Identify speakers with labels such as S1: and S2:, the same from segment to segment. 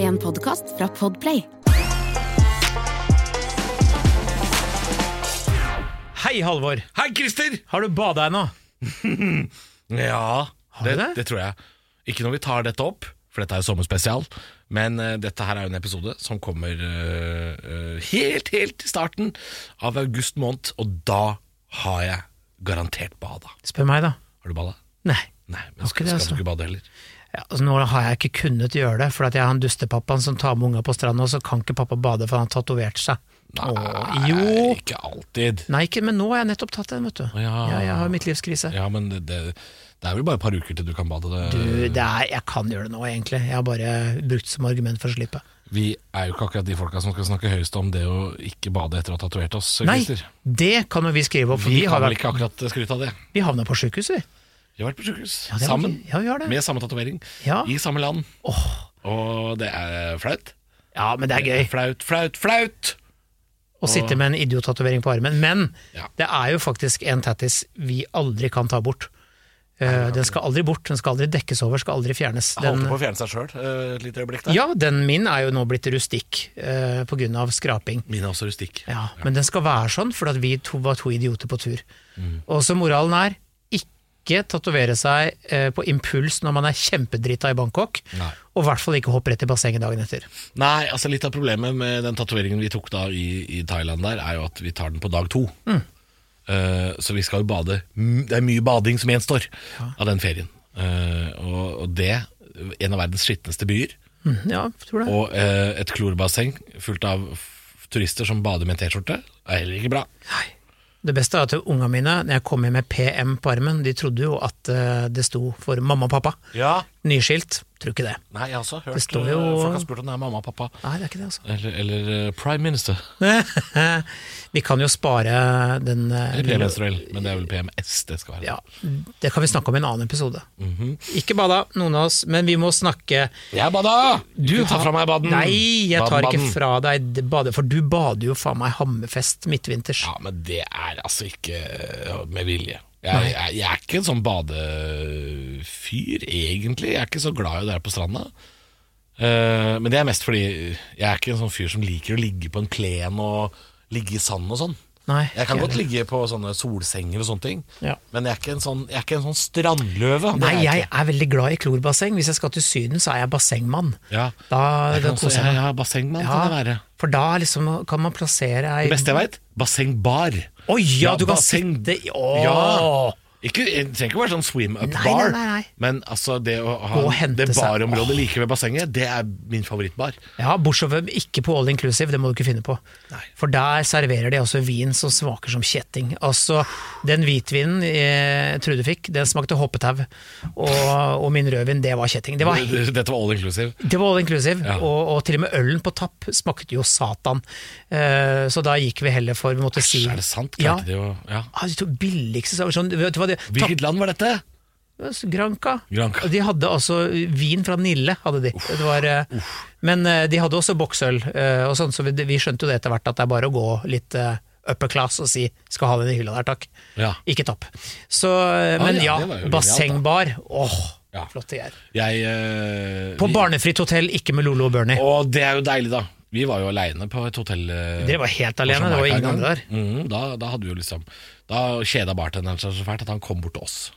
S1: en podkast fra Podplay.
S2: Hei, Halvor.
S3: Hei, Christer!
S2: Har du bada ennå?
S3: Ja,
S2: du
S3: det, det?
S2: det?
S3: tror jeg. Ikke når vi tar dette opp, for dette er jo sommerspesial. Men eh, dette her er jo en episode som kommer eh, eh, helt, helt i starten av august måned. Og da har jeg garantert bada.
S2: Spør meg, da.
S3: Har du bada?
S2: Nei.
S3: Nei, men
S2: Har ikke
S3: skal,
S2: det,
S3: skal
S2: altså.
S3: du ikke bade heller?
S2: Ja, altså, nå har jeg ikke kunnet gjøre det, for at jeg har han dustepappaen som tar med unga på stranda, og så kan ikke pappa bade, for han har tatovert seg. Åh, jo.
S3: ikke alltid.
S2: Nei, ikke, men nå har jeg nettopp tatt den, vet du.
S3: ja.
S2: jeg har midtlivskrise.
S3: Ja, men det, det, det er vel bare et par uker til du kan bade. Det.
S2: Du, det er, jeg kan gjøre det nå, egentlig. Jeg har bare brukt det som argument for å slippe.
S3: Vi er jo ikke akkurat de folka som skal snakke høyest om det å ikke bade etter å ha tatovert oss.
S2: Nei,
S3: Christer.
S2: det kan jo vi skrive opp, for
S3: Vi
S2: vi,
S3: kan
S2: har
S3: vel
S2: vært,
S3: ikke akkurat skryte av det.
S2: vi havna på sjukehus, vi.
S3: Vi har vært på sykehus
S2: Ja, det var
S3: sammen,
S2: ikke- ja, vi har det.
S3: med samme tatovering,
S2: Ja.
S3: i samme land.
S2: Åh.
S3: Og det er flaut.
S2: Ja, men det er gøy.
S3: Flaut, flaut, flaut!
S2: Å sitte med en idiottatovering på armen. Men
S3: Ja.
S2: det er jo faktisk en tattis vi aldri kan ta bort. Eh, den skal aldri bort, den skal aldri dekkes over, skal aldri fjernes. Den,
S3: Holdt på å fjerne seg sjøl et lite øyeblikk der.
S2: ja, den min er jo nå blitt rustikk eh, på grunn av skraping.
S3: Min er også rustikk.
S2: Ja, Men den skal være sånn, for at vi to var to idioter på tur.
S3: Mm.
S2: Og så moralen er, ikke tatovere seg eh, på impuls når man er kjempedrita i Bangkok,
S3: Nei.
S2: og i hvert fall ikke hoppe rett i bassenget dagen etter.
S3: Nei, altså litt av problemet med den tatoveringen vi tok da i, i Thailand der, er jo at vi tar den på dag to.
S2: Mm.
S3: Eh, så vi skal jo bade. m- Det er mye bading som gjenstår av den ferien. Eh, og, og det, en av verdens skitneste byer,
S2: Mm, ja, tror det.
S3: og eh, et klorbasseng fullt av f- turister som bader med T-skjorte, er heller ikke bra.
S2: Det beste er at unga mine, når jeg kom hjem med PM på armen, de trodde jo at eh, det sto for mamma og pappa.
S3: Ja.
S2: Nyskilt, tror ikke det.
S3: Nei, jeg har også hørt
S2: Det står
S3: eh,
S2: jo-
S3: folk har spurt om det er mamma og pappa.
S2: Nei, det er ikke det, altså.
S3: Eller, eller eh, prime minister.
S2: vi kan jo spare den eh,
S3: Eller PM-menstruell, men det er vel PMS det skal være.
S2: Ja, det kan vi snakke om i en annen episode.
S3: Mhm.
S2: Ikke bada, noen av oss, men vi må snakke
S3: Jeg bada! Du tar fra meg baden.
S2: Nei, jeg tar
S3: Baden,
S2: ikke
S3: baden.
S2: fra deg det bade, for du bader jo faen meg hammerfest midtvinters.
S3: Ja, men det er altså ikke eh, med vilje. Jeg, jeg, jeg er ikke en sånn badefyr, egentlig. Jeg er ikke så glad i å være på stranda. Eh, men det er mest fordi jeg er ikke en sånn fyr som liker å ligge på en plen og ligge i sanden og sånn.
S2: Nei,
S3: Jeg kan
S2: ikke
S3: godt
S2: heller.
S3: ligge på sånne solsenger og sånne ting,
S2: Ja.
S3: men jeg er ikke en sånn, jeg er ikke en sånn strandløve. Det er
S2: Nei,
S3: jeg
S2: jeg
S3: ikke.
S2: er veldig glad i klorbasseng. Hvis jeg skal til Syden, så er jeg bassengmann.
S3: Ja.
S2: Da,
S3: Jeg kan
S2: da
S3: også,
S2: koser jeg
S3: ja,
S2: meg.
S3: ja, bassengmann
S2: Ja,
S3: kan det være.
S2: for da liksom kan man plassere ei
S3: Det beste jeg veit, bassengbar.
S2: Oi, ja, du kan
S3: basseng-
S2: sitte i- Åh.
S3: Ja. Ikke, det trenger ikke være sånn swim
S2: Nei, nei,
S3: up-bar,
S2: nei, nei.
S3: men altså det å ha
S2: Gå og hente
S3: det
S2: seg-
S3: barområdet like ved bassenget, det er min favorittbar.
S2: Ja, bortsett fra ikke på all inclusive, det må du ikke finne på. For der serverer de også vin som smaker som kjetting. Altså, den hvitvinen eh, Trude fikk, den smakte hoppetau. Og, og min rødvin, det var kjetting. Det var, he-
S3: Dette var all inclusive.
S2: det var all inclusive.
S3: Ja.
S2: Og, og til og med ølen på tapp smakte jo satan. Eh, så da gikk vi heller for vi måtte si
S3: Er det sant?
S2: Ja.
S3: Klarte de å ja.
S2: Ah, de to billigste sa- sånn, vet du hva det,
S3: Hvilket land var dette?
S2: tapp- Granca.
S3: Granca.
S2: Og De hadde altså vin fra Nille, hadde de. det var, eh, men eh, de hadde også boksøl, eh, og sånn, så vi, vi skjønte jo det etter hvert at det er bare å gå litt eh, upper class og si 'skal ha den i hylla der, takk'.
S3: Ja.
S2: Ikke tapp. Så, eh,
S3: Ah,
S2: men
S3: ja,
S2: ja,
S3: det var jo
S2: bassengbar. Åh,
S3: Ja.
S2: flotte greier.
S3: Jeg eh,
S2: På
S3: vi-
S2: barnefritt hotell, ikke med Lolo og Bernie.
S3: Og det er jo deilig, da. Vi var jo aleine på et hotell. eh,
S2: Dere var helt alene, det var ingen andre der.
S3: Mhm, da, da hadde vi jo liksom Da kjeda bartenderen seg så fælt at han kom bort til oss.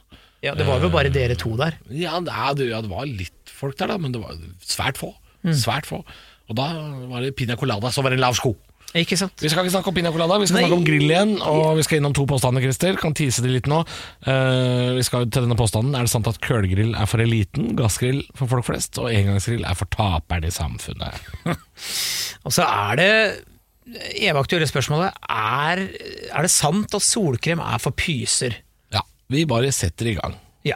S2: Ja, det var vel
S3: Eh.
S2: bare dere to der.
S3: Ja, nei, det, ja, det var litt folk der, da, men det var svært få.
S2: Mm.
S3: Svært få. Og da var det piña colada som var en lav sko.
S2: Ikke sant?
S3: Vi skal ikke snakke om piña colada, vi skal
S2: Nei.
S3: snakke om grill igjen. Og vi skal innom to påstander, Christer. Kan tease de litt nå. Eh, vi skal til denne påstanden. Er det sant at kølegrill er for eliten, gassgrill for folk flest, og engangsgrill er for taperne i samfunnet?
S2: Og så er det evaktuelle spørsmålet er, er det sant at solkrem er for pyser?
S3: Ja, vi bare setter i gang.
S2: Ja.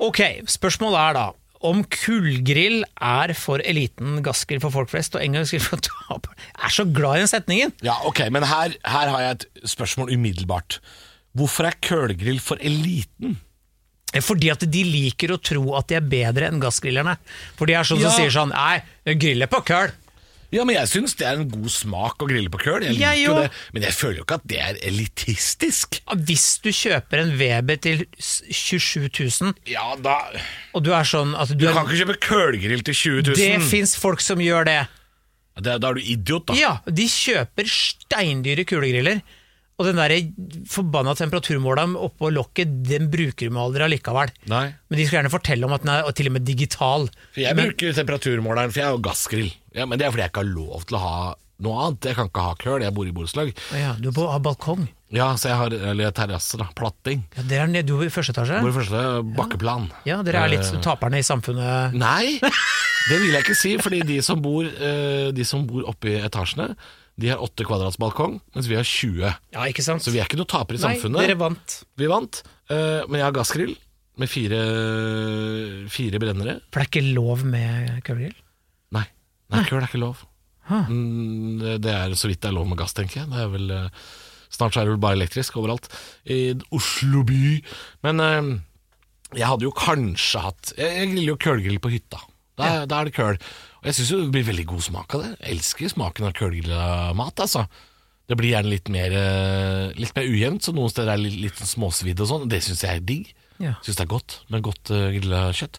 S2: Ok, spørsmålet er da om kullgrill er for eliten, gassgrill for folk flest og engangsgrill for tapere. Jeg er så glad i den setningen!
S3: Ja, ok, men her, her har jeg et spørsmål umiddelbart. Hvorfor er kølegrill for eliten?
S2: Fordi at de liker å tro at de er bedre enn gassgrillerne. For de er sånn
S3: Ja.
S2: som sier sånn Nei, grille på køl!
S3: Ja, men jeg syns det er en god smak å grille på køl. Jeg
S2: Jeg
S3: liker jo
S2: òg.
S3: det. Men jeg føler jo ikke at det er elitistisk.
S2: Ja, Hvis du kjøper en Weber til s- 27 000,
S3: Ja, da
S2: og du er sånn at du,
S3: Du
S2: er-
S3: kan ikke kjøpe kølgrill til 20
S2: Det
S3: 000.
S2: fins folk som gjør det.
S3: Da, da er du idiot, da.
S2: Ja, de kjøper steindyre kulegriller. Og den der forbanna temperaturmåleren oppå lokket, den bruker de aldri allikevel.
S3: Nei.
S2: Men de skal gjerne fortelle om at den er og til og med digital.
S3: For jeg
S2: Men,
S3: bruker temperaturmåleren, for jeg har jo gassgrill. Ja, men det er fordi jeg ikke har lov til å ha noe annet. Jeg kan ikke ha køl, jeg bor i borettslag.
S2: Å ja, du er på har balkong.
S3: Ja, så jeg har eller terrasse, da. Platting.
S2: Ja, Dere er nede du er i første etasje?
S3: Bor i første bakkeplan.
S2: Ja, dere er litt
S3: Eh,
S2: taperne i samfunnet.
S3: Nei, det vil jeg ikke si, fordi de som bor, eh, de som bor oppe i etasjene, de har åtte kvadrats balkong, mens vi har 20.
S2: Ja, ikke sant?
S3: Så vi er ikke noe tapere i
S2: Nei,
S3: samfunnet.
S2: dere vant.
S3: Vi vant, eh, men jeg har gassgrill med fire, fire brennere.
S2: For det er ikke lov med kulegrill?
S3: Nei, nei, køl er ikke lov.
S2: Hæ.
S3: Mm, det- det er så vidt det er lov med gass, tenker jeg. Det er vel, eh, snart så er det vel bare elektrisk overalt i Oslo by. Men eh, jeg hadde jo kanskje hatt Jeg, jeg griller jo kølgrill på hytta. Da, er- da er det køl. Og jeg syns det blir veldig god smak av det. Jeg elsker smaken av kølgrilla mat, altså. Det blir gjerne litt mer, eh, litt mer ujevnt, så noen steder er det litt, litt småsvidd og sånn. Det syns jeg er digg.
S2: Ja.
S3: Syns det er godt med godt uh, grilla kjøtt.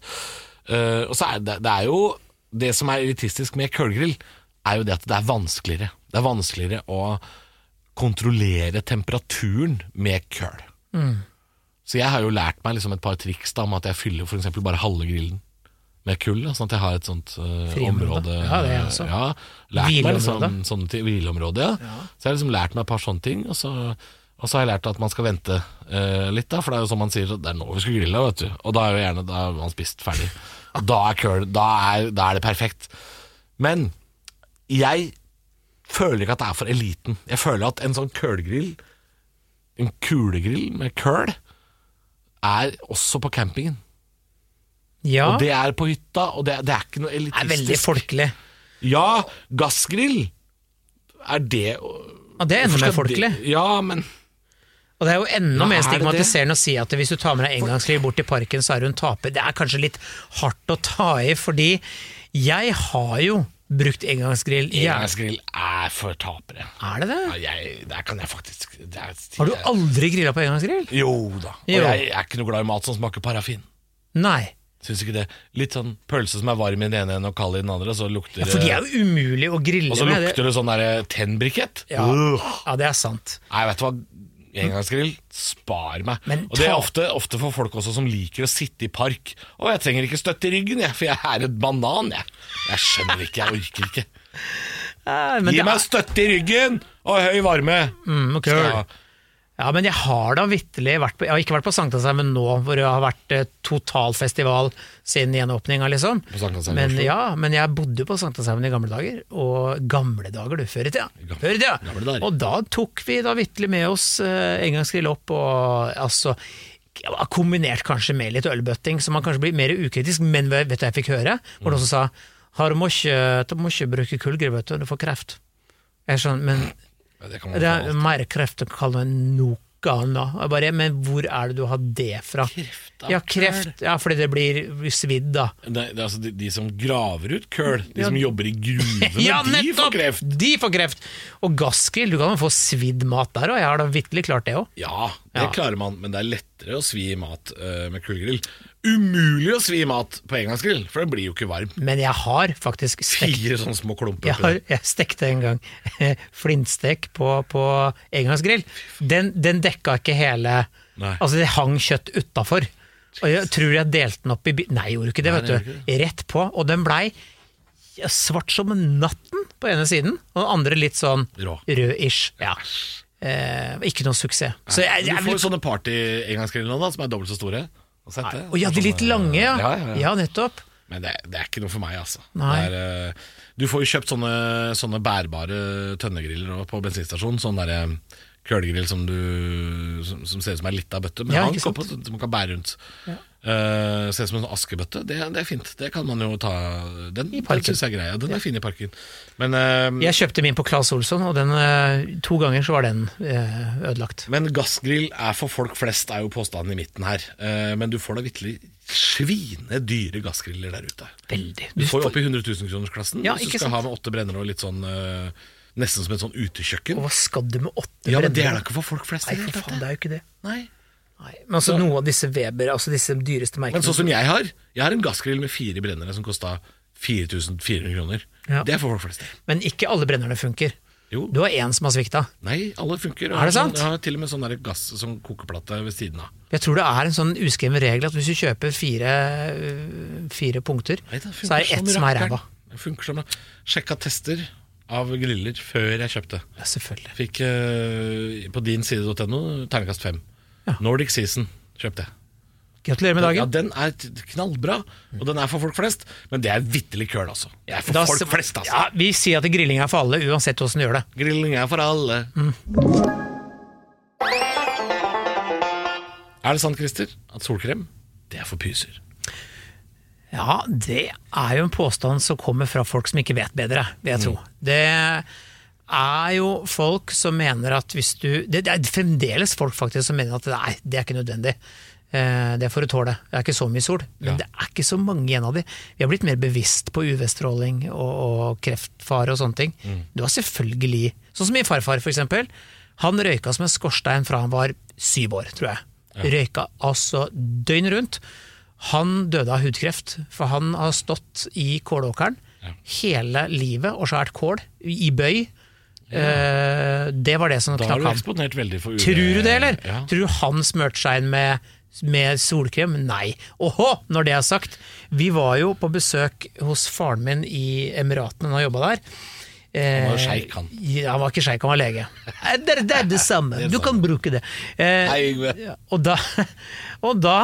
S3: Eh, og så er det, det er jo Det som er elitistisk med kølgrill, er jo det at det er vanskeligere. Det er vanskeligere å kontrollere temperaturen med køl. Så jeg har jo lært meg liksom et par triks da, om at jeg fyller for eksempel bare halve grillen med kull, da, sånn at jeg har et sånt eh,
S2: Friområde.
S3: område.
S2: Ja, det er jeg også.
S3: Ja, lært meg liksom,
S2: Hvileområde.
S3: sånne ting, hvileområde, ja. Så jeg har liksom lært meg et par sånne ting, og så, og så har jeg lært at man skal vente eh, litt, da, for det er jo som man sier, det er nå vi skal grille, vet du. Og da er jo gjerne da er man spist ferdig. Og da er, køl, da, er, da er det perfekt. Men jeg føler ikke at det er for eliten. Jeg føler at en sånn kølgrill, en kulegrill med køl, er også på campingen.
S2: Ja,
S3: Og
S2: det
S3: det er på hytta, og det, det er ikke noe
S2: er veldig
S3: elitistisk.
S2: folkelig.
S3: Ja, gassgrill er det
S2: Ja, det er enda mer folkelig.
S3: Ja, men
S2: Og det er jo enda
S3: Ja,
S2: mer
S3: er det det?
S2: stigmatiserende å si at hvis du tar med deg engangsgrill bort til parken, så er du en taper. Det er kanskje litt hardt å ta i, fordi jeg har jo brukt engangsgrill. Ja.
S3: engangsgrill er for tapere.
S2: Er det det?
S3: Ja, jeg, der kan jeg faktisk det er,
S2: Har du aldri grilla på engangsgrill?
S3: Jo da. Og
S2: Jo.
S3: jeg er ikke noe glad i mat som smaker parafin.
S2: Nei.
S3: Syns ikke det. Litt sånn pølse som er varm i den ene enden og kald i den andre, og så lukter
S2: Ja, for de
S3: det
S2: er jo umulig å grille
S3: Og så
S2: med.
S3: lukter det sånn derre tennbrikett.
S2: Ja.
S3: Øh.
S2: Ja, det er sant.
S3: Nei, vet du hva. Engangsgrill, spar meg.
S2: Men
S3: og det er
S2: ta-
S3: ofte, ofte for folk også som liker å sitte i park. Og jeg trenger ikke støtte i ryggen, jeg, for jeg er et banan, jeg. Jeg skjønner ikke, jeg orker ikke.
S2: Ja, men,
S3: Gi
S2: det
S3: meg
S2: er,
S3: støtte i ryggen og høy varme!
S2: mm, ok.
S3: Ja.
S2: ja, men jeg har da vitterlig vært på Jeg har ikke vært på Sankthanshaugen, men nå hvor det har vært eh, totalfestival siden gjenåpninga, liksom.
S3: På Sankthanshaugen i
S2: Men,
S3: Oslo.
S2: ja, men jeg bodde på Sankthanshaugen i gamle dager. Og gamle dager, du. Før i tida.
S3: Gamle-
S2: Før i tida.
S3: gamle dager.
S2: Og da tok vi da vitterlig med oss eh, engangsgrill opp, og altså ja, Kombinert kanskje med litt ølbøtting, så man kanskje blir mer ukritisk. Men vet vet du hva jeg fikk høre? Hvor
S3: Mm.
S2: noen som sa har du må ikke, du må ikke bruke kullgrill, vet du, du får kreft. Jeg er sånn, men
S3: Ja, Det kan man
S2: det er
S3: faen
S2: mer kreft å kalle enn noe annet. Jeg bare, men hvor er det du har det fra?
S3: Kreft av
S2: ja, kreft. Ja, fordi det blir svidd, da.
S3: alt. det, det er altså de, de som graver ut køl, de
S2: Ja.
S3: som jobber i gruvene,
S2: Ja,
S3: de får
S2: nettopp!
S3: kreft.
S2: De får kreft! Og gassgrill, du kan jo få svidd mat der òg. Jeg har da vitterlig klart det òg.
S3: Ja, det
S2: Ja.
S3: klarer man, men det er lettere å svi i mat eh, med kullgrill. Umulig å svi i mat på engangsgrill, for det blir jo ikke varm.
S2: Men jeg har faktisk stekt
S3: Fire sånne små klumper.
S2: jeg,
S3: oppi der.
S2: har, jeg stekte en gang flintstek på, på engangsgrill. Den, den dekka ikke hele
S3: Nei.
S2: Altså, det hang kjøtt utafor. Og jeg tror jeg delte den opp i bi- Nei, jeg gjorde ikke det,
S3: Nei, det
S2: vet du. Rett på. Og den blei svart som natten på ene siden, og den andre litt sånn
S3: Rå.
S2: rød-ish. Ja. Eh, ikke noe suksess. Så jeg,
S3: Men
S2: jeg sånn-
S3: du får
S2: vil
S3: jo sånne party-engangsgriller nå, da, som er dobbelt så store. Og sett det.
S2: Å ja, de litt lange, ja.
S3: sånn, Ja, ja, ja.
S2: nettopp.
S3: Men det, det er ikke noe for meg, altså.
S2: Nei.
S3: Det er, eh, du får jo kjøpt sånne, sånne bærbare tønnegriller også på bensinstasjonen. Sånn derre kølegrill som, du- som, som ser ut som ei lita bøtte, men
S2: Ja,
S3: han
S2: ikke
S3: går på, som man kan bære rundt. Eh, ser ut som en sånn askebøtte. Det, det er fint. Det kan man jo ta Den, den
S2: parken.
S3: syns jeg er grei. Ja, den er fin i parken. Men, eh,
S2: Jeg kjøpte min på Claes Olsson, og den, eh, to ganger så var den eh, ødelagt.
S3: men gassgrill er for folk flest, er jo påstanden i midten her. Eh, men du får da vitterlig svinedyre gassgriller der ute.
S2: Veldig.
S3: Du får jo opp i 100 000-kronersklassen
S2: Ja,
S3: hvis du
S2: ikke
S3: skal
S2: sant?
S3: ha med åtte brennere og litt sånn eh, Nesten som et sånn utekjøkken.
S2: Og hva skal du med åtte
S3: Ja, men Det er da
S2: brennere?
S3: ikke for folk flest.
S2: Nei,
S3: i det
S2: for
S3: hele tatt,
S2: faen, det er jo ikke det.
S3: Nei.
S2: Nei. Men altså, noen av disse Weber, altså disse dyreste merkene
S3: Men sånn som jeg har Jeg har en gassgrill med fire brennere som kosta 4400 kroner.
S2: Ja.
S3: Det er for folk flest. det.
S2: Men ikke alle brennerne funker.
S3: Jo.
S2: Du har én som har svikta.
S3: Nei, alle funker.
S2: Er det sant?
S3: Jeg har til og med sånn der gass som kokeplate ved siden av.
S2: Jeg tror det er en sånn uskreven regel at hvis du kjøper fire, øh, fire punkter,
S3: Nei, det
S2: så er det
S3: funker
S2: ett
S3: som
S2: som er
S3: rakkeren.
S2: ræva.
S3: Det funker som Sjekka tester av griller før jeg kjøpte.
S2: Ja, selvfølgelig.
S3: Fikk eh, på din side.no terningkast fem.
S2: Ja.
S3: Nordic Season kjøpte jeg.
S2: Gratulerer med
S3: Ja,
S2: dagen.
S3: den er t- knallbra, og den er for folk flest, men det er vitterlig køl, altså. Det er for
S2: Da-
S3: folk flest, altså.
S2: Ja, vi sier at grilling er for alle, uansett åssen du gjør det.
S3: Grilling er for alle.
S2: Mm.
S3: Er det sant, Christer, at solkrem, det er for pyser?
S2: Ja, det er jo en påstand som kommer fra folk som ikke vet bedre, vil jeg tro. Det er jo folk som mener at hvis du Det det er fremdeles folk faktisk som mener at nei, det er ikke nødvendig. Eh, Det får du tåle. Det er ikke så mye sol. Men
S3: Ja.
S2: det er ikke så mange igjen av de. Vi har blitt mer bevisst på UV-stråling og, og kreftfare og sånne ting. Du har selvfølgelig Sånn som min farfar, for eksempel. Han røyka som en skorstein fra han var syv år, tror jeg. Røyka altså døgnet rundt. Han døde av hudkreft, for han har stått i kålåkeren hele livet og skåret kål i bøy. Eh, det var det som
S3: Da har
S2: knakk
S3: du
S2: ham.
S3: eksponert veldig for UV.
S2: Tror du det, eller?
S3: Ja.
S2: Tror du han smørte seg inn med, med solkrem? Nei. Åhå, når det er sagt. Vi var jo på besøk hos faren min i Emiratene, når han jobba der. Eh,
S3: var jo sjeik, han.
S2: Ja, han var ikke sjeik, han var lege. Eh, Det, er- det er det samme, du kan bruke det. Eh,
S3: Hei, Yngve.
S2: ja, og da, og da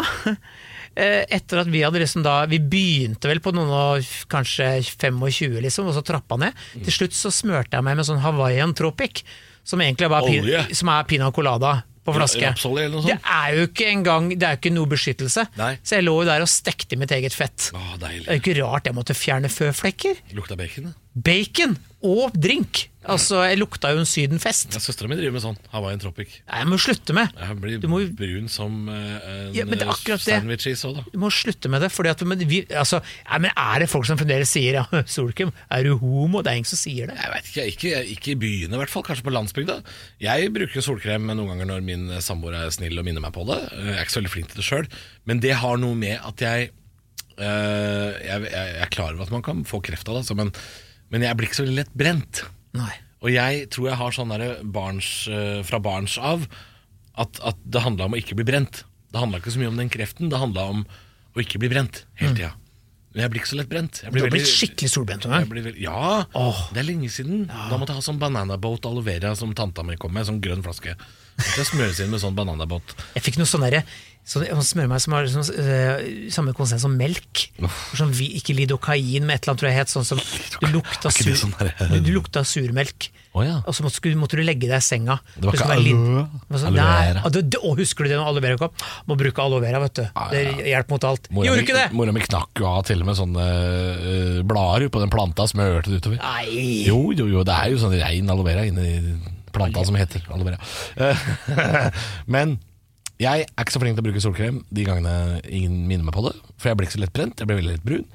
S2: eh, etter at vi hadde liksom da Vi begynte vel på noen og kanskje 25, liksom, og så trappa ned.
S3: Mm.
S2: Til slutt så smørte jeg meg med sånn Hawaiian Tropic, som egentlig er bare
S3: Olje.
S2: pin, som er pina colada på flaske.
S3: Rapsolje eller noe
S2: Det
S3: sånt?
S2: er jo ikke engang Det er jo ikke noe beskyttelse.
S3: sånn. Nei.
S2: Så jeg lå jo der og stekte mitt eget fett.
S3: Å,
S2: Det er
S3: deilig.
S2: jo ikke rart jeg måtte fjerne føflekker.
S3: Lukta bacon, det.
S2: Bacon og drink! Altså, jeg lukta jo en sydenfest.
S3: Ja, Søstera mi driver med sånn. Hawaiian Tropic.
S2: Jeg må slutte med.
S3: Jeg blir
S2: Du må jo-
S3: brun som eh, en
S2: Ja, men det er
S3: eh,
S2: akkurat det.
S3: sandwich i så, da.
S2: Du må slutte med det. Fordi at, men, vi, altså, ja, men er det folk som fremdeles sier ja, 'Solkum, er du homo?' Det er ingen som sier det.
S3: Jeg vet ikke, ikke, ikke i byene i hvert fall, kanskje på landsbygda. Jeg bruker solkrem noen ganger når min samboer er snill og minner meg på det. Eh, Jeg er ikke så veldig flink til det sjøl, men det har noe med at jeg eh, jeg, jeg, jeg er klar over at man kan få kreft av det, altså, men, men jeg blir ikke så lett brent.
S2: Nei.
S3: Og jeg tror jeg har sånn derre barns, eh, fra barns av at, at det handla om å ikke bli brent. Det handla ikke så mye om den kreften, det handla om å ikke bli brent hele tida. Men jeg blir ikke så lett brent. Jeg
S2: Mm. Du
S3: blir
S2: har blitt
S3: veldig-
S2: skikkelig solbrent noen
S3: jeg
S2: gang.
S3: blir vel- ja,
S2: Åh.
S3: det er lenge siden. Da måtte jeg ha sånn bananaboat aloe vera som tanta mi kom med, sånn grønn flaske. Måtte jeg smøres inn med sånn bananaboat.
S2: Jeg fikk noe sånn derre sånn, sånn smørmeis som har sånn, eh, samme konsens som melk. Sånn vi, ikke lidokain med et eller annet, tror jeg het. Sånn som du lukta,
S3: ikke det
S2: sur,
S3: sånn der-
S2: du, du lukta surmelk.
S3: Å ja.
S2: Og så måtte, skulle- måtte du legge deg i senga.
S3: Det var
S2: Det
S3: ikke
S2: skulle være litt-
S3: aloe-
S2: det var sånn,
S3: aloe
S2: nei,
S3: vera.
S2: ah, det- det- Å, husker du det når aloe vera kom? Må bruke aloe vera, vet du.
S3: Ja, Ah, ja, ja.
S2: Det hjelper mot alt. Gjorde ikke det!
S3: Mora mi knakk jo av til og med sånne øh, blader på den planta, smørte det utover.
S2: Nei!
S3: Jo, jo, jo, det er jo sånn rein aloe vera inni planta som heter aloe vera. Eh, Men jeg er ikke så flink til å bruke solkrem de gangene ingen minner meg på det. For jeg blir ikke så lett brent, jeg blir veldig lett brun.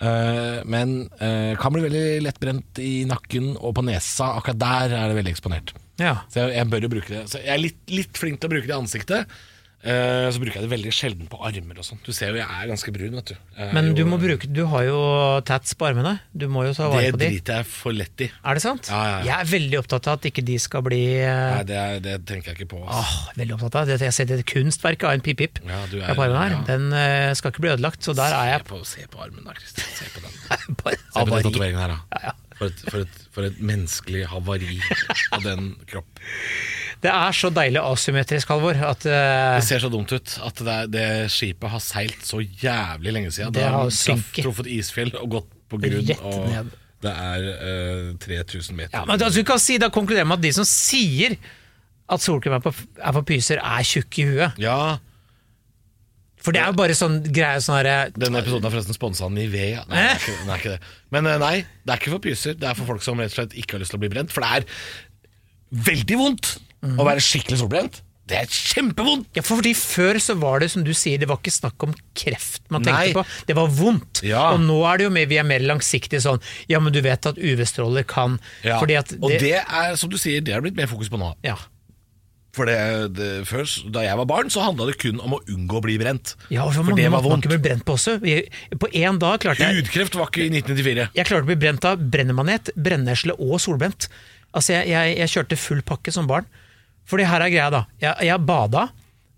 S3: Eh, Men eh, kan bli veldig lett brent i nakken og på nesa. Akkurat der er det veldig eksponert.
S2: Ja.
S3: Så jeg, jeg bør jo bruke det. Så jeg er litt, litt flink til å bruke det i ansiktet. Eh, Så bruker jeg det veldig sjelden på armer og sånn. Du ser jo jeg er ganske brun, vet du. Jeg er
S2: Men du
S3: jo-
S2: må bruke Du har jo tats på armene. Du må jo ta
S3: Det
S2: vare på de.
S3: driter jeg for lett i.
S2: Er det sant?
S3: Ja, ja, ja.
S2: Jeg er veldig opptatt av at ikke de skal bli eh,
S3: Nei, det, er- det tenker jeg ikke på. ass.
S2: Åh, veldig opptatt av det. Jeg ser det kunstverket av en pip-pip
S3: Ja, du er-
S2: på armen her.
S3: ja.
S2: Den eh, skal ikke bli ødelagt, så der er jeg
S3: Se på, se på armen da, Kristin. Se på den,
S2: bare
S3: se på den
S2: havari.
S3: tatoveringen her, da. For, et, for, et, for et menneskelig havari på den kropp.
S2: Det er så deilig asymmetrisk, Halvor, at eh,
S3: Det ser så dumt ut at det, er- det skipet har seilt så jævlig lenge siden.
S2: Det har
S3: den traff-
S2: synket.
S3: truffet isfjell og gått på grunn.
S2: Rett
S3: og
S2: ned.
S3: Det er eh, 3000 meter.
S2: ja, men altså, du kan si, Da konkluderer jeg med at de som sier at solkrem er på, er på pyser, er tjukke i huet.
S3: Ja,
S2: For det er jo bare sånn greie sånn herre
S3: Denne episoden er forresten sponsa av Nivea. Nei, det er ikke, den er ikke det. Men eh, nei, det er ikke for pyser. Det er for folk som rett og slett ikke har lyst til å bli brent. For det er veldig vondt å være skikkelig solbrent. Det er kjempevondt!
S2: ja, for fordi Før så var det som du sier, det var ikke snakk om kreft man
S3: Nei.
S2: tenkte på, det var vondt.
S3: Ja.
S2: Og nå er det jo mer, vi er mer langsiktige sånn Ja, men du vet at UV-stråler kan
S3: Ja.
S2: Fordi at
S3: Og det er, som du sier, det har det blitt mer fokus på nå.
S2: ja.
S3: For det, det, før, da jeg var barn, så handla det kun om å unngå å bli brent.
S2: ja, og for,
S3: for
S2: mange
S3: det var
S2: måtte man
S3: vondt.
S2: ikke bli brent på også. Jeg- På én dag klarte jeg
S3: Hudkreft var ikke i 1994.
S2: Jeg klarte å bli brent av brennemanet, brennesle og solbrent. Altså, jeg, jeg, jeg kjørte full pakke som barn. Fordi her er greia, da. Jeg, jeg bada,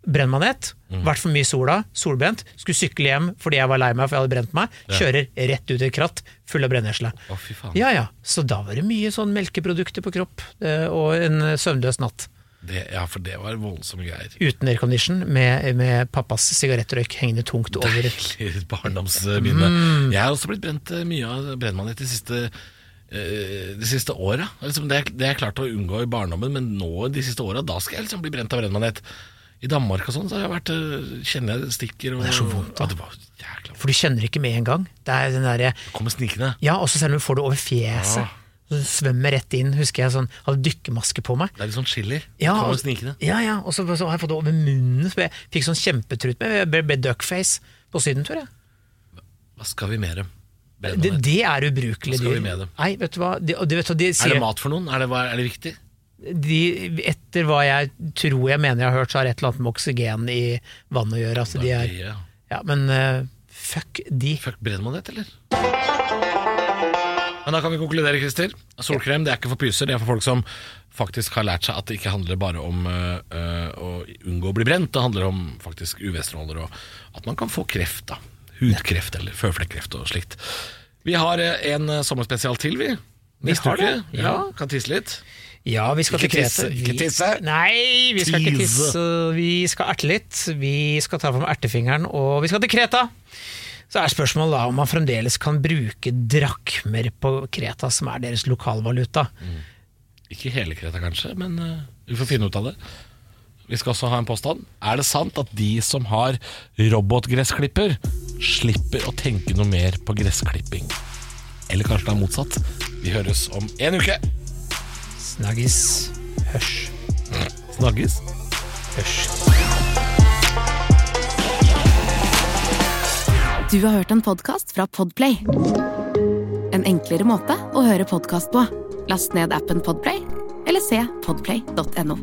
S2: brennmanet,
S3: Mm.
S2: vært for mye i sola, solbrent. Skulle sykle hjem fordi jeg var lei meg for jeg hadde brent meg. Kjører rett ut i et kratt full av brennesle.
S3: Å, fy faen.
S2: Ja ja, så da var det mye sånn melkeprodukter på kropp, eh, og en eh, søvnløs natt.
S3: Det, ja, for det var voldsomme greier.
S2: Uten aircondition, med, med pappas sigarettrøyk hengende tungt over
S3: Deilig barndomsminne.
S2: Mm.
S3: Jeg har også blitt brent eh, mye av brennmanet de siste eh, de siste åra. Liksom det, det jeg klarte å unngå i barndommen, men nå de siste åra, da skal jeg liksom bli brent av brennmanet. I Danmark og sånn så har jeg vært, eh, kjenner jeg det stikker og
S2: Det er så vondt, da.
S3: Ja, det var jækla vondt.
S2: For du kjenner det ikke med en gang. Det er den derre
S3: Kommer snikende.
S2: Ja, også selv om du får det over fjeset.
S3: Ja.
S2: Så du svømmer rett inn, husker jeg sånn, hadde dykkermaske på meg.
S3: Det er litt sånn chili.
S2: Ja,
S3: Kommer
S2: og-
S3: snikende.
S2: Ja, ja, og så, så har jeg fått det over munnen, så jeg fikk sånn kjempetrut med, jeg ble, ble duckface på sydentur. Jeg.
S3: Hva skal vi mer om?
S2: Det,
S3: Brennmanet.
S2: det er ubrukelig
S3: Hva skal vi med dem?
S2: Nei, vet du hva, de, og de, vet du, hva, de
S3: Er
S2: sier
S3: det mat for noen? Er det, hva- er det viktig?
S2: de, Etter hva jeg tror jeg mener jeg har hørt, så har et eller annet med oksygen i vannet å gjøre. Altså, de er,
S3: Ja.
S2: ja, men eh, fuck de.
S3: Fuck brennmanet, eller? Men da kan vi konkludere, Christer. Solkrem det er ikke for pyser, det er for folk som faktisk har lært seg at det ikke handler bare om øh, øh, å unngå å bli brent, det handler om faktisk UV-stråler og at man kan få kreft. da Hudkreft eller føflekkreft og slikt. Vi har øh, en øh, sommerspesial til, vi. Neste
S2: har
S3: uke.
S2: det,
S3: Ja.
S2: ja.
S3: Kan tisse litt.
S2: Ja, vi skal
S3: Ikke
S2: til
S3: tisse,
S2: Kreta.
S3: ikke
S2: Vi-
S3: tisse.
S2: Nei, vi skal ikke
S3: Tise.
S2: tisse. Vi skal erte litt. Vi skal ta fram ertefingeren, og vi skal til Kreta. Så er spørsmålet da om man fremdeles kan bruke drakmer på Kreta, som er deres lokalvaluta.
S3: Ikke hele Kreta, kanskje, men øh, vi får finne ut av det. Vi skal også ha en påstand. Er det sant at de som har robotgressklipper, slipper å tenke noe mer på gressklipping? Eller kanskje det er motsatt? Vi høres om en uke.
S2: Snaggis. Hørs.
S3: Snakkes.
S2: Hørs.
S1: Du har hørt en podcast fra Podplay En enklere måte å høre podcast på Last ned appen Podplay Eller se podplay.no